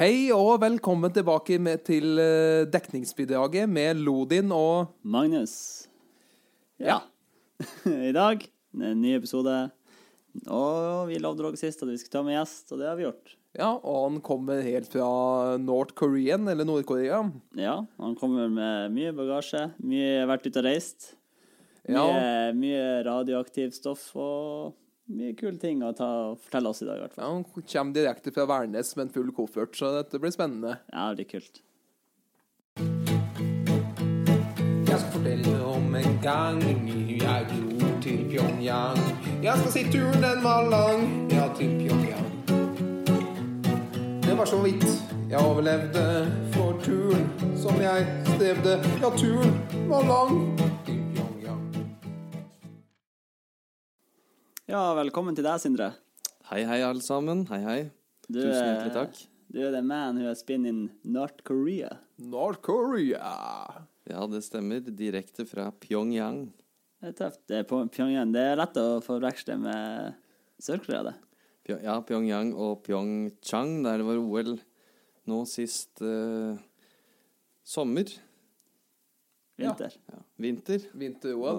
Hei og velkommen tilbake med, til eh, dekningsbidraget med Lodin og Magnus. Ja. I dag en ny episode. Og vi lovde dere sist at vi skulle ta med gjest, og det har vi gjort. Ja, og han kommer helt fra North Korean, eller Nord-Korea. Ja, Han kommer med mye bagasje, mye vært ute og reist. Ja. Mye, mye radioaktivt stoff og mye kule ting å ta og fortelle oss i dag, i hvert fall. Ja, han kommer direkte fra Værnes med en full koffert, så dette blir spennende. Ja, det blir kult. Jeg skal fortelle om en gang jeg dro til Pyongyang. Jeg skal si turen den var lang, ja, til Pyongyang. Det var så vidt jeg overlevde, for turen som jeg strevde, ja, turen var lang. til Pyongyang. Ja, velkommen til deg, Sindre. Hei, hei, alle sammen. Hei, hei. Du Tusen er- hjertelig takk. Du er the man who has been in North Korea. North Korea! Ja, det stemmer. Direkte fra Pyongyang. Det er tøft. Det er på Pyongyang. Det er lett å forveksle med Sør-Korea, det. Pyo ja, Pyongyang og Pyeongchang, der det var OL nå sist eh, sommer. Vinter. Ja, vinter. Vinter-OL.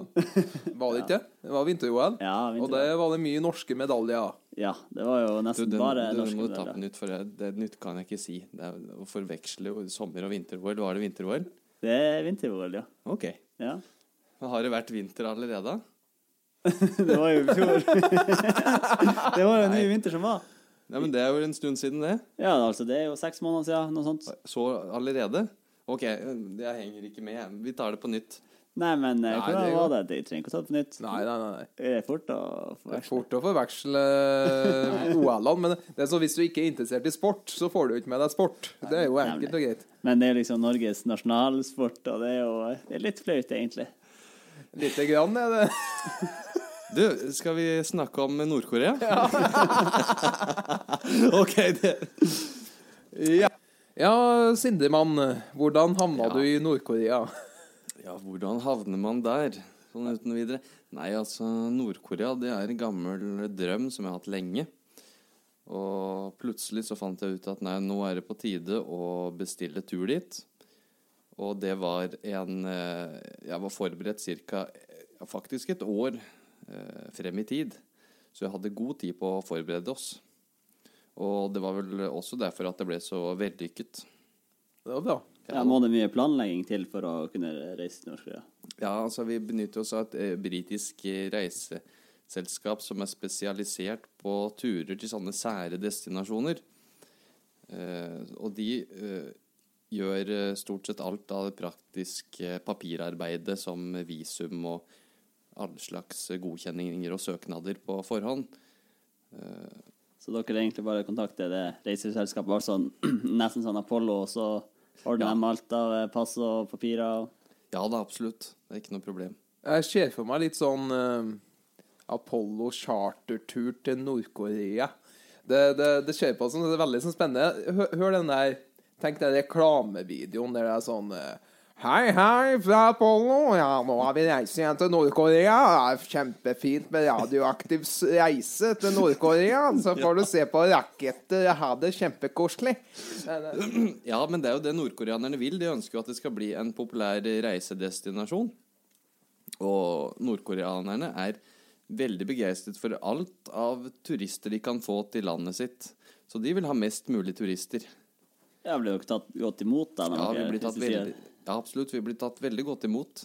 Var det ikke? Det var vinter-OL. Ja, Og vinter. det var det mye norske medaljer. Ja, det var jo Du, nesten den, bare du, norske må du ta modeller. den ut, for det, det nytt kan jeg ikke si. Det er å forveksle jo sommer- og vinter-OL. Var det vinter-OL? Det er vinter-OL, ja. Ok. ja. Har det vært vinter allerede? Det var jo i fjor. det var jo en ny vinter som var. Nei, men det er jo en stund siden, det. Ja, altså, det er jo seks måneder siden, noe sånt. Så allerede? Ok, eh, jeg henger ikke med. Vi tar det på nytt. Nei, men eh, Nei, hvordan det er jo- var det? De trenger ikke å ta det på nytt. Nei, nei, nei. nei. Det er Det fort å er forveksle. fort å forveksle OL-ene, men det er så hvis du ikke er interessert i sport, så får du jo ikke med deg sport. Det er jo enkelt og greit. Men det er liksom Norges nasjonalsport, og det er jo eh, det er litt flaut, egentlig. Lite grann er det. Du, skal vi snakke om Nord-Korea? ok, det Ja, ja Sindermann, hvordan havna Ja. du i Nord-Korea? Ja, hvordan havner man der? Sånn uten videre. Nei, altså, Nord-Korea, det er en gammel drøm som jeg har hatt lenge. Og plutselig så fant jeg ut at nei, nå er det på tide å bestille tur dit. Og det var en eh, Jeg var forberedt ca. Ja, faktisk et år eh, frem i tid. Så jeg hadde god tid på å forberede oss. Og det var vel også derfor at det ble så vellykket. Det var bra. Ja, må det mye planlegging til for å kunne reise til Norsk-Korea? Ja, altså vi benytter oss av et eh, britisk eh, reiseselskap som er spesialisert på turer til sånne sære destinasjoner. Eh, og de eh, gjør eh, stort sett alt av det praktiske papirarbeidet som visum og alle slags godkjenninger og søknader på forhånd. Så dere egentlig bare kontakter det reiseselskapet, altså nesten sånn Apollo, og så ordner de alt av eh, pass og papirer? og- Ja da, absolutt. Det er ikke noe problem. Jeg ser for meg litt sånn eh, Apollo chartertur til Nord-Korea. Det, det, det ser på som det er veldig sånn spennende. Hør, hør den der Tenk den reklamevideoen der det er sånn eh, Hei, hei fra Apollo. Ja, nå har vi reist igjen til Nord-Korea. Det er kjempefint med radioaktiv s- reise til Nord-Korea. Så får du se på raketter. Ha det kjempekoselig. Ja, men det er jo det nordkoreanerne vil. De ønsker jo at det skal bli en populær reisedestinasjon. Og nordkoreanerne er veldig begeistret for alt av turister de kan få til landet sitt. Så de vil ha mest mulig turister. Ja, blir dere tatt godt imot da? når Ja, vi dere- blir tatt hvis de sier- veldig, ja absolutt. Vi blir tatt veldig godt imot.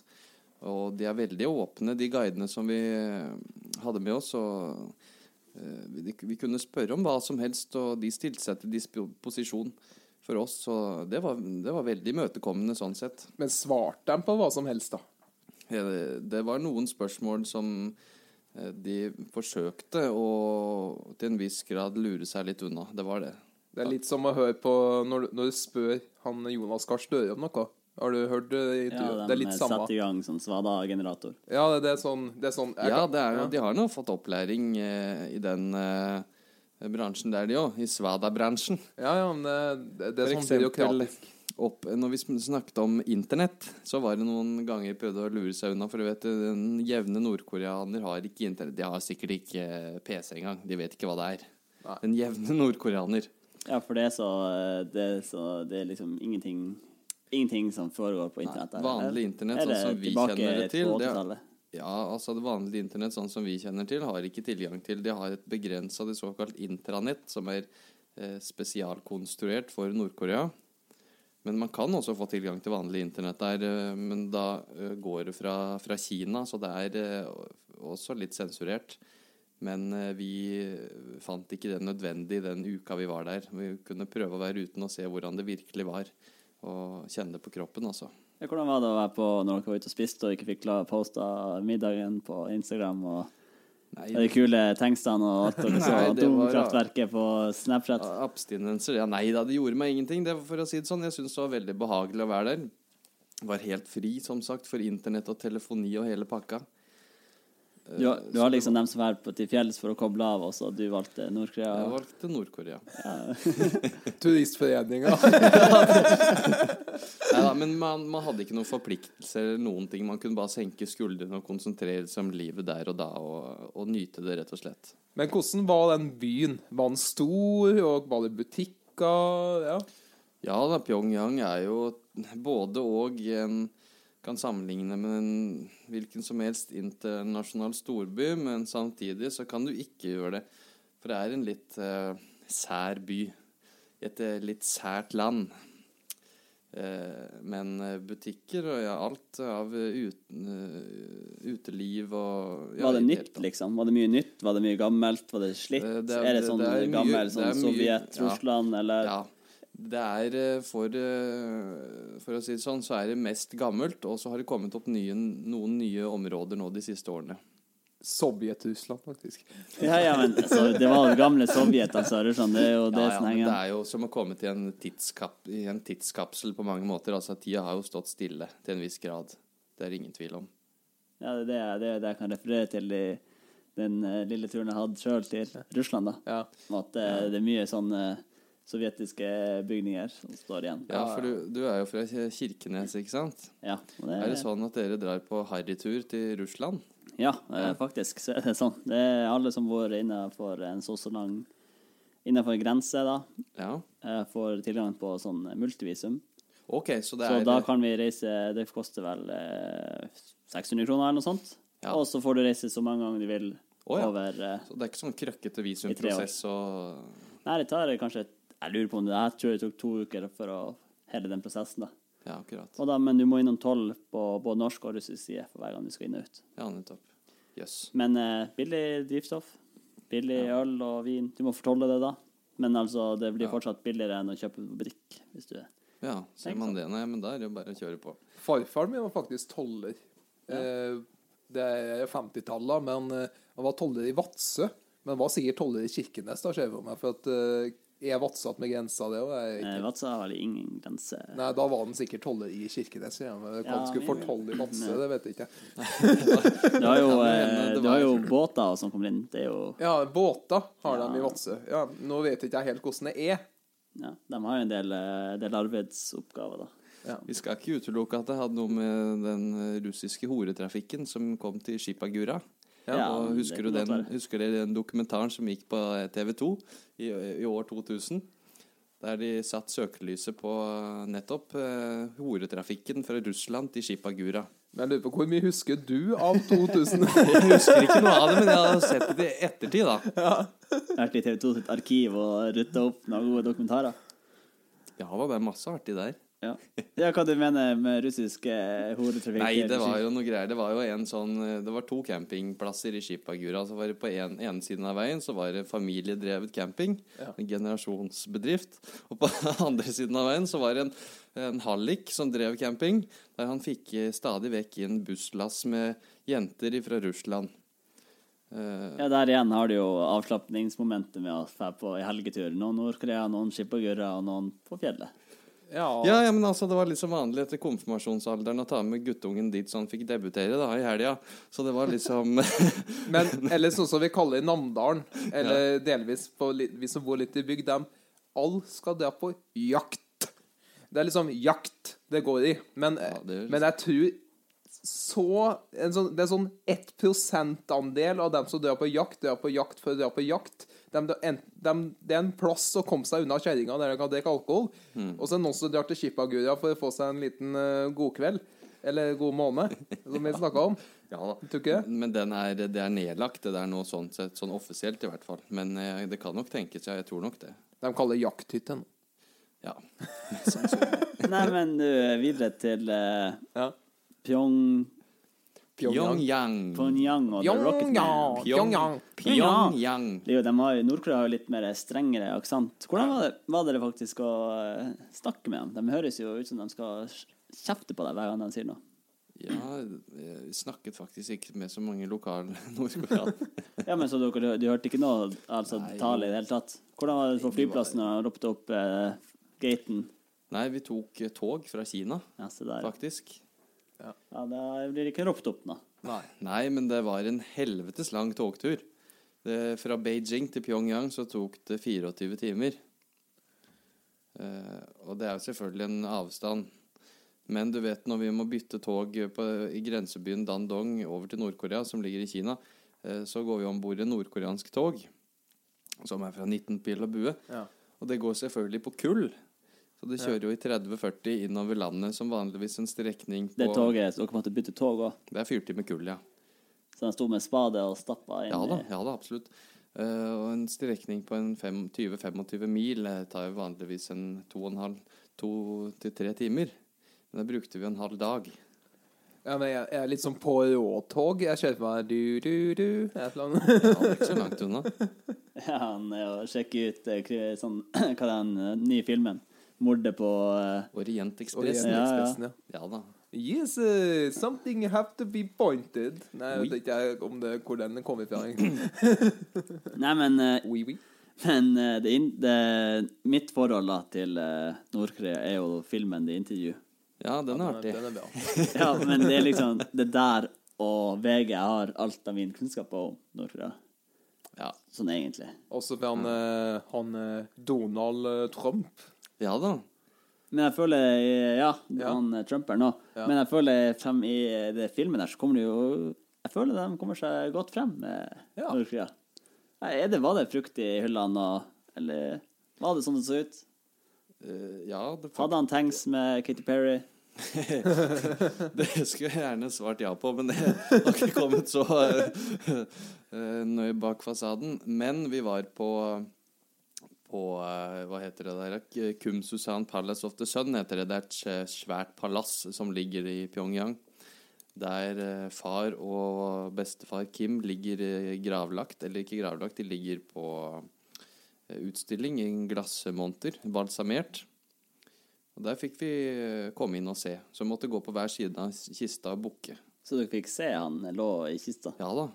Og de er veldig åpne, de guidene som vi eh, hadde med oss. Og eh, vi, vi kunne spørre om hva som helst, og de stilte seg til disposisjon for oss. Så det var, det var veldig imøtekommende sånn sett. Men svarte de på hva som helst, da? Eh, Det var noen spørsmål som eh, de forsøkte å til en viss grad lure seg litt unna. Det var det. Det er litt som å høre på når, du- når du spør han Jonas Gahr Støre om noe. Har du hørt det? Ja, intervjuet? de det er litt samme. satte i gang sånn svada-generator. Ja, det, det er sånn, det er sånn jeg Ja, kan- det er, jo- ja. de har nå fått opplæring eh, i den eh, bransjen der, de òg. I svada-bransjen. ja, ja, men det, det er For sånn eksempel byråkratisk. opp, når vi sn- snakket om internett, så var det noen ganger jeg prøvde å lure seg unna. For du vet, den jevne nordkoreaner har ikke internett. De har sikkert ikke eh, PC engang. De vet ikke hva det er. Nei. Den jevne nordkoreaner. Ja, for det er så eh, Det er, så, det er liksom ingenting Ingenting som foregår på internett. der, vanlig eller? internett, Er sånn som vi tilbake kjenner det til, det er- 80-tallet? Ja, altså Det vanlige internett sånn som vi kjenner til, har ikke tilgang til. De har et begrensa de såkalt intranett, som er eh, spesialkonstruert for Nord-Korea. Men man kan også få tilgang til vanlig internett der, eh, men da eh, går det fra, fra Kina, så det er eh, også litt sensurert. Men eh, vi fant ikke det nødvendig den uka vi var der. Vi kunne prøve å være uten og se hvordan det virkelig var, og kjenne det på kroppen, altså. Ja, hvordan var det å være på når dere var ute og spiste og ikke fikk la- posta middagen på Instagram? og Nei, de kule tekstene og alt dere så Nei, det var rart. domkraftverket på Snapchat? Ja, Abstinenser? Ja, nei da, det gjorde meg ingenting. Det, for å si det sånn, Jeg syntes det var veldig behagelig å være der. Var helt fri, som sagt, for internett og telefoni og hele pakka. Eh, Du, du har liksom dem som er på, til fjells for å koble av, og så du valgte Jeg Nord-Korea. valgte Nord-Korea. Turistforeninga. Nei da, men man, man hadde ikke noen forpliktelser eller noen ting. Man kunne bare senke skuldrene og konsentrere seg om livet der og da, og, og nyte det, rett og slett. Men hvordan var den byen? Var den stor, og var det butikker? Ja. Ja da, Pyongyang er jo både og en kan sammenligne med en hvilken som helst internasjonal storby, men samtidig så kan du ikke gjøre det. For det er en litt eh, sær by. Et eh, litt sært land. Eh, men eh, butikker og ja, alt av eh, uten, eh, uteliv og ja, Var det i nytt, hele tatt. liksom? Var det mye nytt? Var det mye gammelt? Var det slitt? Er Eh, det er- det det- sånn det er mye- gammel sånn det er mye- Sovjet-Russland, eller Ja. Det er eh, for eh, For å si det sånn, så er det mest gammelt, og så har det kommet opp nye, noen nye områder nå de siste årene. Sovjet-Russland, faktisk. Ja, ja, men altså, det var jo gamle Sovjet, altså, Russland. Det er jo det Ja, ja, som men henger det er jo som å komme til en, tidskap, i en tidskapsel på mange måter. Altså, tida har jo stått stille til en viss grad. Det er det ingen tvil om. Ja, det er det, jeg- det, er det jeg kan referere til i den eh, lille turen jeg hadde sjøl til Russland, da. Ja. Om At eh, det er mye sånne sovjetiske bygninger som står igjen. Ja, for du, du er jo fra Ki- Kirkenes, ikke sant? Ja, og Er det sånn at dere drar på harrytur til Russland? Ja, eh, faktisk så er det sånn. Det er alle som bor innenfor en så så lang Innenfor en grense, da, Ja. eh, får tilgang på sånn multivisum. Ok, så det Så er da kan vi reise Det koster vel eh, 600 kroner eller noe sånt. Ja. Og så får du reise så mange ganger du vil Å, ja. over eh, så det er ikke sånn krøkkete I tre år. visumprosess og Nei, det tar kanskje Jeg lurer på om det jeg tror det tok to uker for å hele den prosessen, da. Ja, akkurat. Og da men du må innom toll på både norsk og russisk side for hver gang du skal inn og ut. Ja, nettopp. Jøss. Yes. Men eh, billig drivstoff. Billig øl og vin. Du må fortolle det, da. Men altså, det blir fortsatt billigere enn å kjøpe på butikk. Hvis du Ja, ser Tenk man det. Nei, men da er det jo bare å kjøre på. Farfaren min var faktisk toller. Eh, Det er 50-tallet, men eh, han var toller i Vadsø. Men var sikkert toller i Kirkenes, da, ser jeg for meg. For at eh, jeg er vadssatt med grensa, det og jeg er eh, ikke Vadsø har vel ingen grense. Nei, da var han sikkert toller i Kirkenes. Ja, men hva Ja, han skulle men- fortolle i Vadsø, det vet jeg ikke. Du har jo, Ja, men, eh, det du har var- jo båter som kommer inn. Det er jo Ja, båter har Ja. de i Vadsø. Ja, nå vet ikke jeg helt hvordan det er. Ja, de har jo en del, eh, del arbeidsoppgaver, da. Vi skal ikke utelukke at det hadde noe med den eh, russiske horetrafikken som kom til Shipagura. Ja, og det husker, kan du godt den, være. husker dere den dokumentaren som gikk på TV 2 i, i år 2000? Der de satt søkelyset på eh, nettopp eh, horetrafikken fra Russland til Shipagura. Men jeg lurer på hvor mye husker du av 2000? Jeg husker ikke noe av det, men jeg har sett det i ettertid, da. Vært i TV 2 sitt arkiv og rutta opp noen gode dokumentarer. Ja, det var masse artig der. Ja, ja hva du mener med eh, russiske horetrafikk? Nei, det var jo noe greier. Det var jo en sånn eh, Det var to campingplasser i Skipagura. Så var det på en, ene siden av veien så var det familiedrevet camping. En generasjonsbedrift. Og på andre siden av veien så var det en, en hallik som drev camping. Der han fikk eh, stadig vekk inn busslass med jenter fra Russland. Eh, Ja, Der igjen har du jo avslapningsmomentet med å dra på en helgetur. Noen Nord-Korea, noen Skipagurra og noen på fjellet. Ja, Ja, ja, men altså, det var liksom vanlig etter konfirmasjonsalderen å ta med guttungen dit så han fikk debutere da i helga. Så det var liksom Men eller sånn som vi kaller i Namdalen, eller delvis på, li- vi som bor litt i bygd, dem alle skal dra på jakt. Det er liksom jakt det går i. Men, Ja, det er- men jeg tror så en sånn, Det er sånn 1 %-andel av dem som drar på jakt, drar på jakt for å dra på jakt. dem- de- en- dem- det er en plass å komme seg unna kjerringa der de kan drikke alkohol. Hmm. Og så er det noen som drar til Chipagura for å få seg en liten eh, god godkveld. Eller god måned, som vi snakka om. Ja da. Tror ikke det? Men den er, det er nedlagt, det der nå sånn sett. Sånn offisielt, i hvert fall. Men eh, det kan nok tenkes, ja. Jeg tror nok det. De kaller jakthytten. Ja. Nei, men nå eh, videre til eh, Ja. Pyong, Pyongyang. Pyongyang. Pyongyang og The Rocket Man. Pyongyang. Pyongyang. Pyongyang. Det er jo- De har, jo- Nord-Korea har jo litt mer strengere aksent. Hvordan var det, var det faktisk å eh, snakke med dem? De høres jo ut som de skal kjefte på deg hver gang de sier noe. Ja, jeg snakket faktisk ikke med så mange lokale nordkoreanere. Ja, men så dere, du hørte ikke noe altså, Nei. tale i det hele tatt? Hvordan var det på flyplassen da de ropte opp eh, gaten? Nei, vi tok eh, tog fra Kina, Ja, se der. faktisk. Ja, da blir det ikke ropt opp nå. Nei, men det var en helvetes lang togtur. Det, fra Beijing til Pyongyang så tok det 24 timer. Eh, og det er jo selvfølgelig en avstand. Men du vet når vi må bytte tog på, i grensebyen Dandong over til Nord-Korea, som ligger i Kina, eh, så går vi om bord i nordkoreansk tog, som er fra 19 pil og bue. Ja. Og det går selvfølgelig på kull. Så det kjører jo i 30-40 innover landet, som vanligvis en strekning på Det toget, Dere måtte bytte tog òg. Det er fyrt i med kull, ja. Så de sto med spade og stappa inn Ja da, i ja da, absolutt. Eh, og en strekning på en fem- 20-25 mil eh, tar jo vanligvis en to og en halv- to til tre timer. Men da brukte vi en halv dag. Ja, men jeg, jeg er litt sånn på råtog. Jeg kjører på meg du, du, du. Et eller annet. Ja, det er ikke så langt unna. ja, han er jo- sjekker ut eh, kri- sånn, hva er den eh, nye filmen? Mordet på eh, Orientekspressen. Ja, ja. Orientekspressen, ja. Ja da. Yes, uh, something have to be pointed. Nei, jeg vet ikke jeg om det, hvor den kommer fra. egentlig. Nei, men, eh, Oui, oui. men eh, det, inn- det, mitt forhold da til eh, Nord-Korea er jo filmen The Interview. Ja, den er artig. Den er bra. Ja, men det er liksom det der og VG jeg har alt av min kunnskap om Nord-Korea. Ja, Sånn egentlig. Også fra han, eh, han eh, Donald eh, Trump. ja da. Men jeg føler Ja, Ja. han eh, Trump er nå. Ja. Men jeg føler frem i eh, det filmen der, så kommer det jo Jeg føler de kommer seg godt frem med Ja. Nord-Korea. Nei, Er det, var det frukt i hyllene og Eller var det sånn det så ut? Eh, ja, det, Hadde han tanks med Katy Perry? det skulle jeg gjerne svart ja på, men det har ikke kommet så eh, eh, nøye bak fasaden. Men vi var på på eh, hva heter det der? Kumsusan Palace of the Sun heter det. Det er et sj- svært palass som ligger i Pyongyang. Der eh, far og bestefar Kim ligger eh, gravlagt, eller ikke gravlagt, de ligger på eh, utstilling i en glassmonter, balsamert. Og der fikk vi eh, komme inn og se. Så vi måtte gå på hver side av s- kista og bukke. Så dere fikk se han lå i kista? Ja da.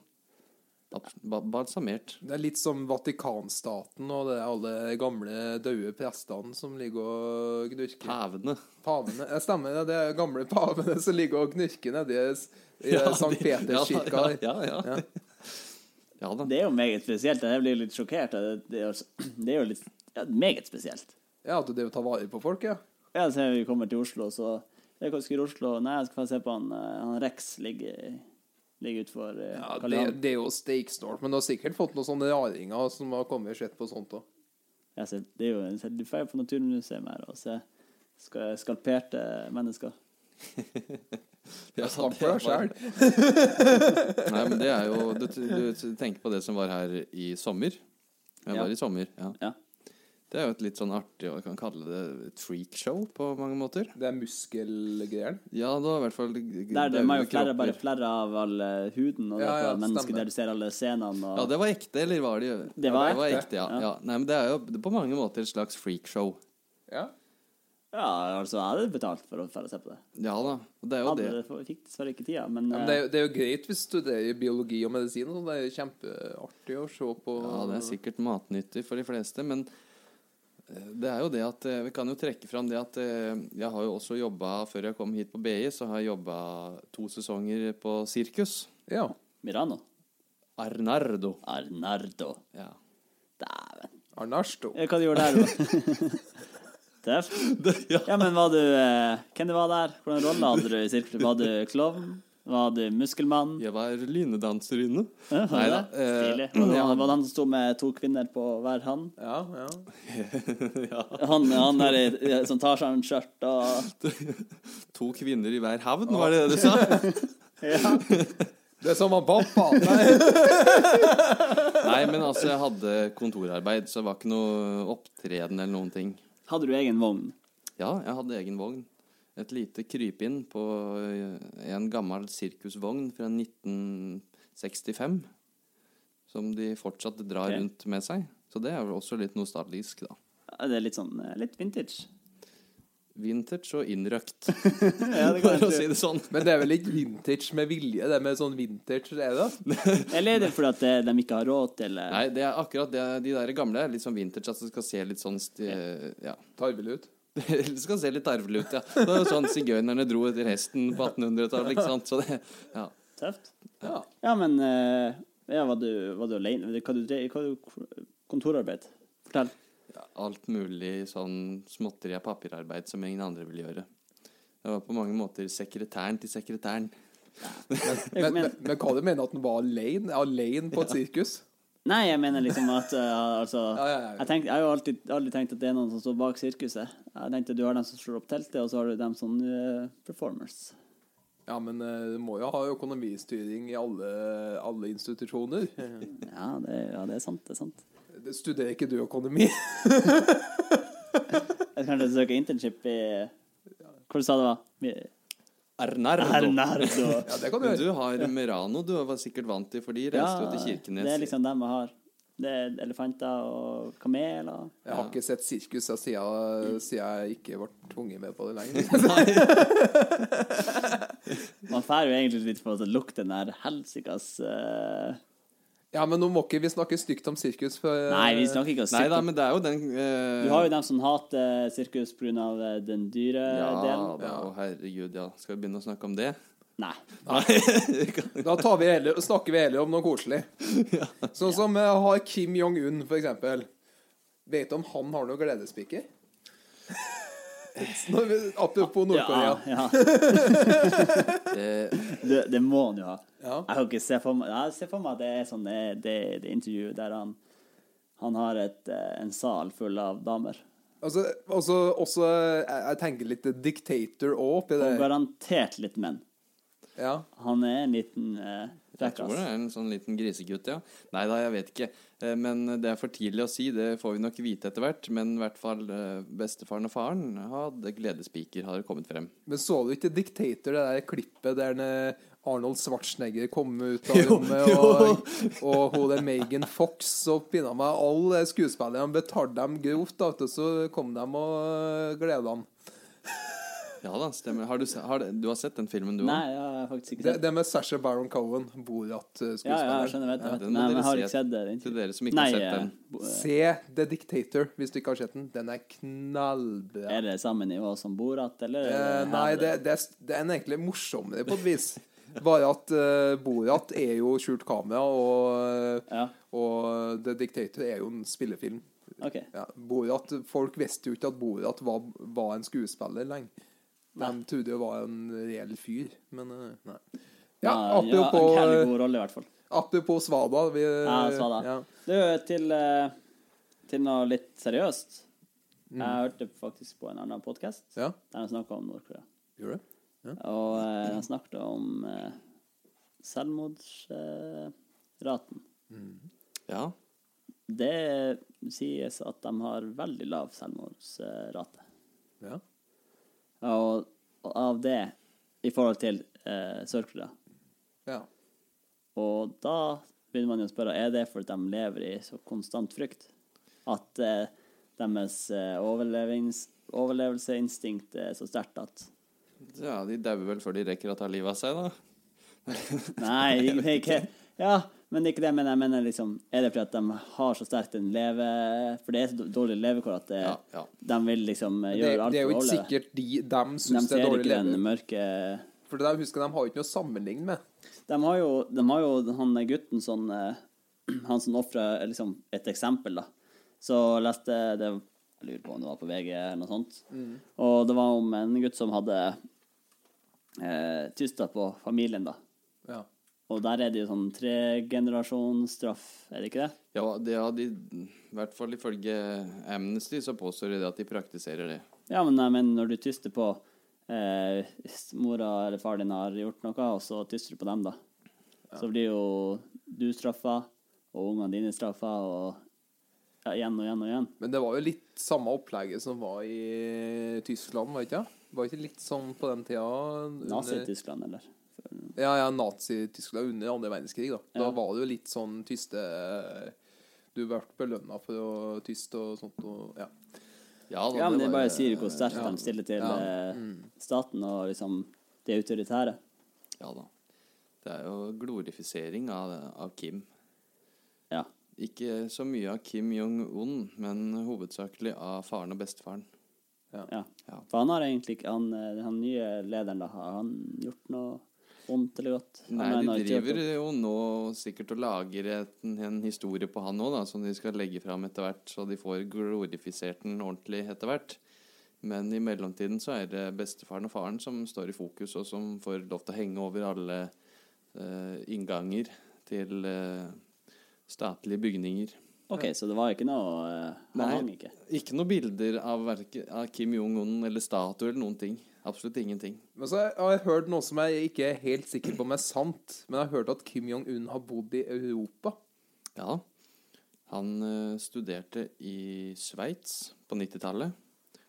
Ab- ba- Balsamert. Det er litt som Vatikanstaten og det er alle gamle døde prestene som ligger og gnurker. Pævene. Pavene. Jeg stemmer, det, det er gamle pavene som ligger og gnurker nedi i Ja, Sankt de- ja da, Peterskirka. der. Ja, ja, ja. Ja. Ja da. Det er jo meget spesielt. Jeg blir litt sjokkert. Det, det, er jo- det er jo litt ja, meget spesielt. Ja, at du driver og tar vare på folk, ja. Ja, så vi kommer til Oslo, så Jeg skal til Oslo Nei, jeg skal få se på han, eh, han Rex ligger, ligger utenfor eh, Ja, Karl det, Johan. det er jo steiksnålt, men du har sikkert fått noen sånne raringer som har kommet og sett på sånt òg. Ja, så det er jo en Du drar på Naturmuseet her og ser ska- skalperte mennesker. Ja, Jeg snakker for deg det var- selv. Nei, men det er jo du, du tenker på det som var her i sommer. Jeg Ja. var i sommer, ja. Ja. Det er jo et litt sånn artig, og jeg kan kalle det et freakshow på mange måter. Det er muskelgreier. Ja, det var i hvert fall Der Der de har jo flere, bare flere av all eh, huden og Ja, dette ja, mennesket stemmer. der du ser alle scenene og Ja, det var ekte, eller var det Det var ja, det var ekte. ekte ja. Ja. ja. Nei, men det er jo på mange måter et slags freakshow. Ja. Ja, altså, jeg hadde betalt for å dra og se på det. Ja da. og Det er jo Hadde det. det, for- fikk dessverre ikke tida, men, Ja, men det, det, er jo, det er jo greit hvis du studerer biologi og medisin. og sånn. Det er jo kjempeartig å se på. Ja, det er sikkert matnyttig for de fleste, men eh, det er jo det at eh, Vi kan jo trekke fram det at eh, jeg har jo også jobba Før jeg kom hit på BI, så har jeg jobba to sesonger på sirkus. Ja. eh, Mirano. Arnardo. Arnardo. Ja. Dæven. Arnarsto. Eh, Hva du gjorde der? da? Tøft. Ja, men var du eh, Hvem det var der? Hvilken rolle hadde du i sirkelen? Var du klovn? Var du muskelmann? Jeg var linedanserinne. Ja, var Neida, det? eh, Stilig. Var det han, var det han som sto med to kvinner på hver hand? Ja, ja. ja. Han, han der i, som tar seg en skjørt og To kvinner i hver havn, var det det du sa? ja. Det er som han pappa. Nei. Nei, men altså, jeg hadde kontorarbeid, så det var ikke noe opptreden eller noen ting. Hadde du egen vogn? Ja, jeg hadde egen vogn. Et lite krypinn på eh, en gammel sirkusvogn fra 1965. Som de fortsatt drar Ok. rundt med seg. Så det er vel også litt nostalgisk, da. Ja, Det er litt sånn eh, litt vintage. Vintage og innrøkt, Ja, det for kan å jeg si tro. det sånn. Men det er vel ikke vintage med vilje, det med sånn vintage, er det? Eller er det fordi at eh, de ikke har råd til eh, Nei, det er akkurat det, de der gamle. er Litt sånn vintage, at det skal se litt sånn sti, Ja. Tarvel ut. Det skal se litt arvelig ut, ja. Det er jo sånn sigøynerne dro etter hesten på 1800-tallet, ikke sant. Så det, ja. tøft? Ja. Ja, men eh, ja, var, du, var du alene? Hva du drev hva du Kontorarbeid? Fortell. Ja, alt mulig sånn småtteri av papirarbeid som ingen andre vil gjøre. Jeg var på mange måter sekretæren til sekretæren. Jeg Men, men, mener- men hva du mener at han var alene? Alene på et sirkus? Nei, jeg mener liksom at eh, altså, Ja, ja, ja. Jeg, tenk- jeg har jo alltid, alltid tenkt at det er noen som står bak sirkuset. Jeg tenkte Du har dem som slår opp teltet, og så har du dem som eh, performers. Ja, men eh, du må jo ha økonomistyring i alle, alle institusjoner. Ja det, ja, det er sant. det er sant Det- Studerer ikke du økonomi? Jeg skal kanskje søke internship i Hvor sa du det var? Mi- Arnardo. Hernardo. Ja, det kan du Men gjøre. du har Merano, du var sikkert vant til, for de reiste jo til Kirkenes. det er liksom dem jeg har. Det er elefanter og kameler. Jeg har ikke sett sirkus jeg siden, Mm. siden jeg ikke ble tvunget med på det lenger. Man får jo egentlig litt for å lukte den der helsikas eh, Ja, men nå må ikke vi snakke stygt om sirkus for Nei, vi snakker ikke om Nei da, sirkus. men det er jo den eh, Du har jo dem som hater sirkus pga. eh, den dyre Ja delen. da, å herregud, ja. Skal vi begynne å snakke om det? Nei. eh, Da tar vi heller, snakker vi heller om noe koselig. Sånn som eh, har Kim Jong-un, for eksempel. Vet du om han har noen gledespiker? Nå, Apropos Ja, Nord-Korea. ja. Eh, Det, det må han jo ha. Ja. Jeg kan ikke se for meg Jeg ser for meg at det er sånn eh, det, det intervjuet der han han har et, eh, en sal full av damer. Altså, også, også jeg, jeg tenker litt dictator òg oppi Og det. garantert litt menn. Ja. Han er en liten eh, Jeg tror det frekkas. er en sånn liten grisegutt, ja. Nei da, jeg vet ikke. Eh, Men det er for tidlig å si, det får vi nok vite etter hvert. Men i hvert fall eh, bestefaren og faren hadde gledespiker, har det kommet frem. Men så du ikke Dictator, det der klippet der den, eh, Arnold Schwarzenegger kom ut av rommet, og, og hun der Megan Fox og pinna meg alle skuespillerne betalte dem grovt, da, vet du, så kom de og eh, gleda dem. Ja da, stemmer. Har du, se- har, du har sett den filmen, du Nei, òg? jeg har faktisk ikke Det, sett det. det med Sasha Baron Cohen, eh, Ja, ja, jeg Borat-skuespilleren. skjønner, vet, jeg vet. den må Nei, men dere jeg har se ikke sett det. Til intervjuet. dere som ikke Nei, har sett eh, den. bo- Se The Dictator, hvis du ikke har sett den. Den er knallbra. er det samme nivå som Borat, eller? Eh, nei, det, det, er- det er en egentlig morsommere på et vis. Bare at eh, Borat er jo skjult kamera, og, Ja, og The Dictator er jo en spillefilm. OK. Ja, Borat, Folk visste jo ikke at Borat var, var en skuespiller lenge. De trodde det var en reell fyr, men eh, nei. Ja, apropos, eh, ja, en jævlig god rolle, i hvert fall. apropos Svada. Vi, Ja, Svada. Eh, ja. Du, til, eh, til noe litt seriøst. Jeg hørte faktisk på en annen podkast Ja, der de snakka om Nord-Korea. gjorde det? Og eh, de snakket om eh, selvmordsraten. Eh, raten. Ja. det sies at de har veldig lav selvmordsrate. Ja. Og og av det i forhold til eh, Sør-Korea. ja. Og da begynner man jo å spørre er det fordi de lever i så konstant frykt at eh, deres eh, overlevings, overlevelseinstinkt er så sterkt at ja, de dauer vel før de rekker å ta livet av seg, da. Nei, ikke Ja, men det er ikke det jeg mener. Jeg mener liksom Er det fordi at de har så sterkt en leve... For det er så dårlig levekår at det, Ja, ja. de vil liksom eh, Det, gjøre alt det er jo for å ikke overleve. sikkert de, dem De syns det ser er dårlig ikke den levende. mørke For de, husker, de har jo ikke noe å sammenligne med. De har jo, de har jo han der gutten som eh, Han som ofrer liksom et eksempel, da. Så jeg leste det Mm. Jeg lurer på om det var på VG eller noe sånt. Og det var om en gutt som hadde eh, tysta på familien, da. Ja. Og der er det jo sånn tregenerasjonsstraff, er det ikke det? Ja, det har de, I hvert fall ifølge Amnesty så påstår de det at de praktiserer det. Ja, men, jeg mener, når du tyster på eh, Hvis mora eller faren din har gjort noe, og så tyster du på dem, da, så blir jo du straffa, og ungene dine straffa, og ja, igjen og igjen og igjen. Men det var jo litt samme opplegget som var i Tyskland, var det ikke? det? Var det ikke litt sånn på den tida? under- eh, Nazi-Tyskland, eller? Ja, ja, Nazi-Tyskland under andre verdenskrig, da. Da Ja. var det jo litt sånn tyste Du ble belønna for å tyste og sånt og Ja. da, Ja, men det var- bare eh, sier hvor sterkt de stiller til ja, Mm. eh, staten og liksom det autoritære. Ja da. Det er jo glorifisering av, av Kim. Ja. Ikke så mye av Kim Jong-un, men hovedsakelig av faren og bestefaren. Ja. Ja. For han har egentlig ikke han, eh, han nye lederen, da, har han gjort noe vondt eller godt? Han Nei, er de nå ikke driver eh, gjort jo nå sikkert og lager et, en historie på han òg, som de skal legge fram etter hvert, så de får glorifisert den ordentlig etter hvert. Men i mellomtiden så er det bestefaren og faren som står i fokus, og som får lov til å henge over alle eh, innganger til eh, statlige bygninger. noe- OK, så det var ikke noe eh, Han Nei. hang ikke. Ikke noen bilder av, verke, av Kim Jong-un eller statuer eller noen ting. Absolutt ingenting. Men så har jeg hørt noe som jeg ikke er helt sikker på om er sant. Men jeg har hørt at Kim Jong-un har bodd i Europa. Ja. Han eh, studerte i Sveits på 90-tallet.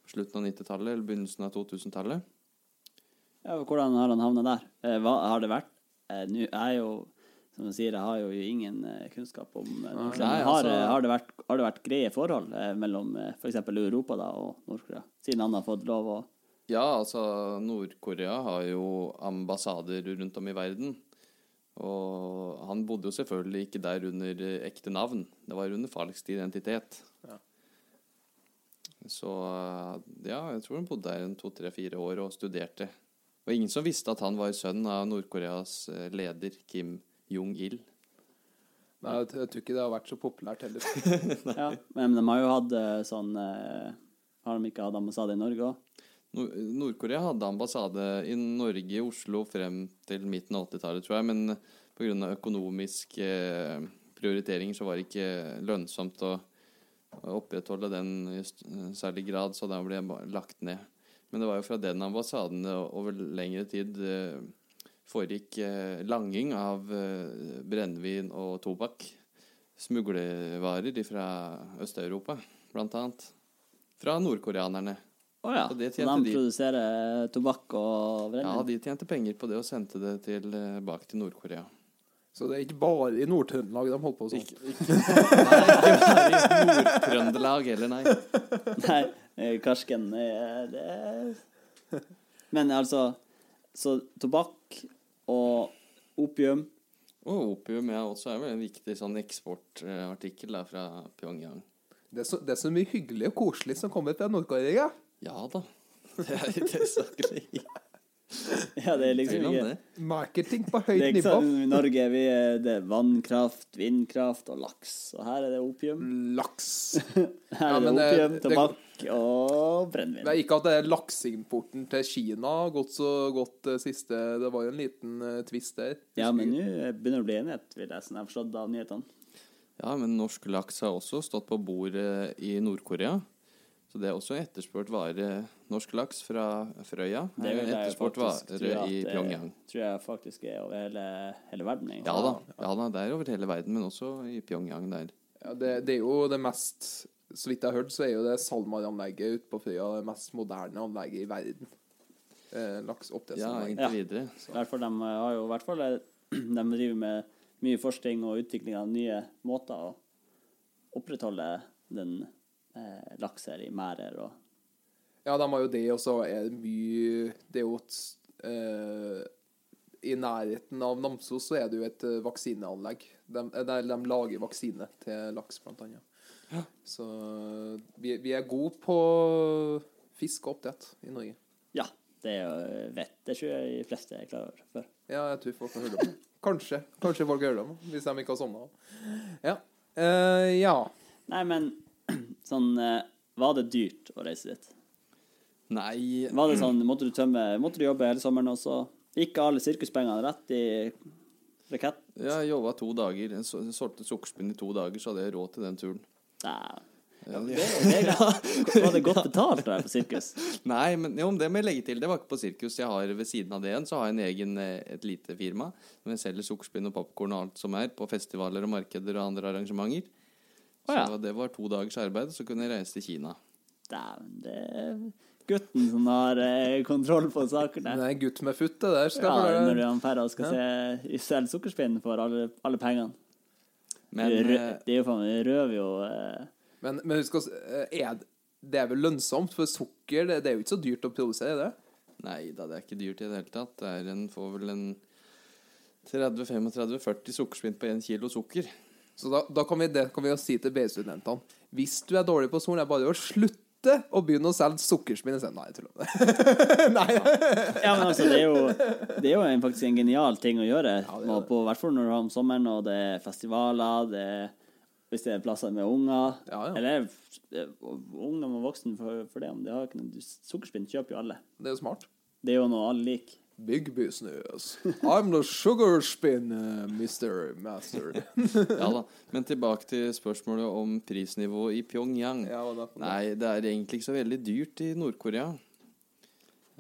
Slutten av 90-tallet eller begynnelsen av 2000-tallet. Ja, men hvordan har han havna der? Eh, Hva har det vært? Eh, Nå er jo som du sier, jeg har jo ingen eh, kunnskap om eh, Nord-Korea. Nei, Men har, altså- eh, har, det vært, har det vært greie forhold eh, mellom f.eks. Europa da, og Nord-Korea, siden han har fått lov å Ja, altså Nord-Korea har jo ambassader rundt om i verden. Og han bodde jo selvfølgelig ikke der under eh, ekte navn. Det var under falsk identitet. Så eh, ja, jeg tror han bodde der en to-tre-fire år og studerte. Og ingen som visste at han var sønn av Nord-Koreas eh, leder Kim Jong-il. Nei, jeg, t- jeg tror ikke det har vært så populært heller. Ja, men de har jo hatt eh, sånn eh, Har de ikke hatt ambassade i Norge òg? Nor- Nord-Korea hadde ambassade i Norge, i Oslo, frem til midten av 80-tallet, tror jeg. Men pga. økonomiske eh, prioriteringer så var det ikke lønnsomt å å opprettholde den i st- særlig grad, så den ble ba- lagt ned. Men det var jo fra den ambassaden det over lengre tid eh, foregikk eh, langing av eh, brennevin og tobakk. Smuglevarer fra Øst-Europa, blant annet. Fra nordkoreanerne. Å ja. Og det Så tjente de de. produserer eh, tobakk og Ja, brennevin? de tjente penger på det og sendte det tilbake til Nord-Korea. Så det er ikke bare i Nord-Trøndelag de holdt på sånn. Trøndelag heller, nei. Nei, eh, karsken eh, det er- Men altså Så tobakk og opium Og opium ja, også er vel en viktig sånn eksportartikkel da, fra Pyongyang. Det er, så, det er så mye hyggelig og koselig som kommer til Nord-Korea. Ja da. Det er ikke saklig. Ja, det er liksom ikke det. Marketing på det er høyt ikke nivå. sånn i Norge vi er, det er vannkraft, vindkraft og laks. Og her er det opium. Laks. Her Mm. Ja, er det men det- opium, det- tobakk og brennevin. Det er ikke at det er lakseimporten til Kina har gått så godt det siste Det var jo en liten eh, twist der. Ja, men nå begynner det å bli enighet, vil jeg, som jeg har forstått av nyhetene. Ja, men norsk laks har også stått på bordet i Nord-Korea. Så det er også etterspurt vare norsk laks fra Frøya. Det er vil jeg etterspurt faktisk tro vare at i det- Pyongyang. Tror jeg faktisk er over hele, hele verden. egentlig. Ja da. ja da. Det er over hele verden, men også i Pyongyang der. Ja, det, det er jo det mest Så vidt jeg har hørt, så er jo det SalMar-anlegget ute på Frøya det mest moderne anlegget i verden. Eh, laks sånn Ja, oppdrettsanlegg. inntil videre. I hvert fall de har jo i hvert fall eh, De driver med mye forskning og utvikling av nye måter å opprettholde den eh, laks her i merder og Ja, de har jo det, og så er det mye Det er jo et eh, I nærheten av Namsos så er det jo et eh, vaksineanlegg. De, eh, der de lager vaksine til laks, blant annet. Så vi, vi er gode på fisk og oppdrett i Norge. Ja, det er jo vett. Det tror jeg de fleste er klar over før. Ja, jeg tror folk har hørt om det. Kanskje. Kanskje folk har hørt om det, hvis de ikke har sovna. Ja. Eh, ja. Nei, men sånn eh, Var det dyrt å reise dit? Nei Var det sånn, måtte du tømme Måtte du jobbe hele sommeren, og så gikk alle sirkuspengene rett i rakett? Jeg jobba to dager. Jeg så- solgte sukkerspinn i to dager, så hadde jeg råd til den turen. Nei. Ja, Det, det er greit. Var det godt betalt der på sirkus? Nei, men jo, men det må jeg legge til. Det var ikke på sirkus. Jeg har Ved siden av det igjen så har jeg en egen, eh, et lite firma. Hvor jeg selger sukkerspinn og popkorn og alt som er, på festivaler og markeder og andre arrangementer. Å, ja. Så det var to dagers arbeid, så kunne jeg reise til Kina. Dæven, det er gutten som har eh, kontroll på sakene. Nei, gutt med futt, det der skal være- Ja, når han Ferra skal se selge sukkerspinn for alle, alle pengene. Men Rø- eh, det er jo faen meg røver jo eh, Men, men husk også, er, det- det er vel lønnsomt, for sukker det, det er jo ikke så dyrt å produsere det. Nei da, det er ikke dyrt i det hele tatt. Det er en, får vel en 30-35-40 sukkerspinn på 1 kilo sukker. Så da, da kan vi, det kan vi jo si til BI-studentene. Hvis du er dårlig på solen, er det bare å slutte å begynne å selge sukkerspinn isteden. Nei, jeg tuller med det. Nei, Ja, men altså, det er jo, det er jo en, faktisk en genial ting å gjøre. Ja, det er og det. på, I hvert fall når du har om sommeren, og det er festivaler, det er, hvis det er plasser med unger. Ja, ja. Eller eh, ungdom og voksne for, for det. om det har ikke noe, Sukkerspinn kjøper jo alle. det er jo smart. Det er jo noe alle liker. Big business. I'm the sugarspin, uh, Mr. Master. Ja da. Men tilbake til spørsmålet om prisnivået i Pyongyang. Ja, hva da? Nei, det er egentlig ikke så veldig dyrt i Nord-Korea.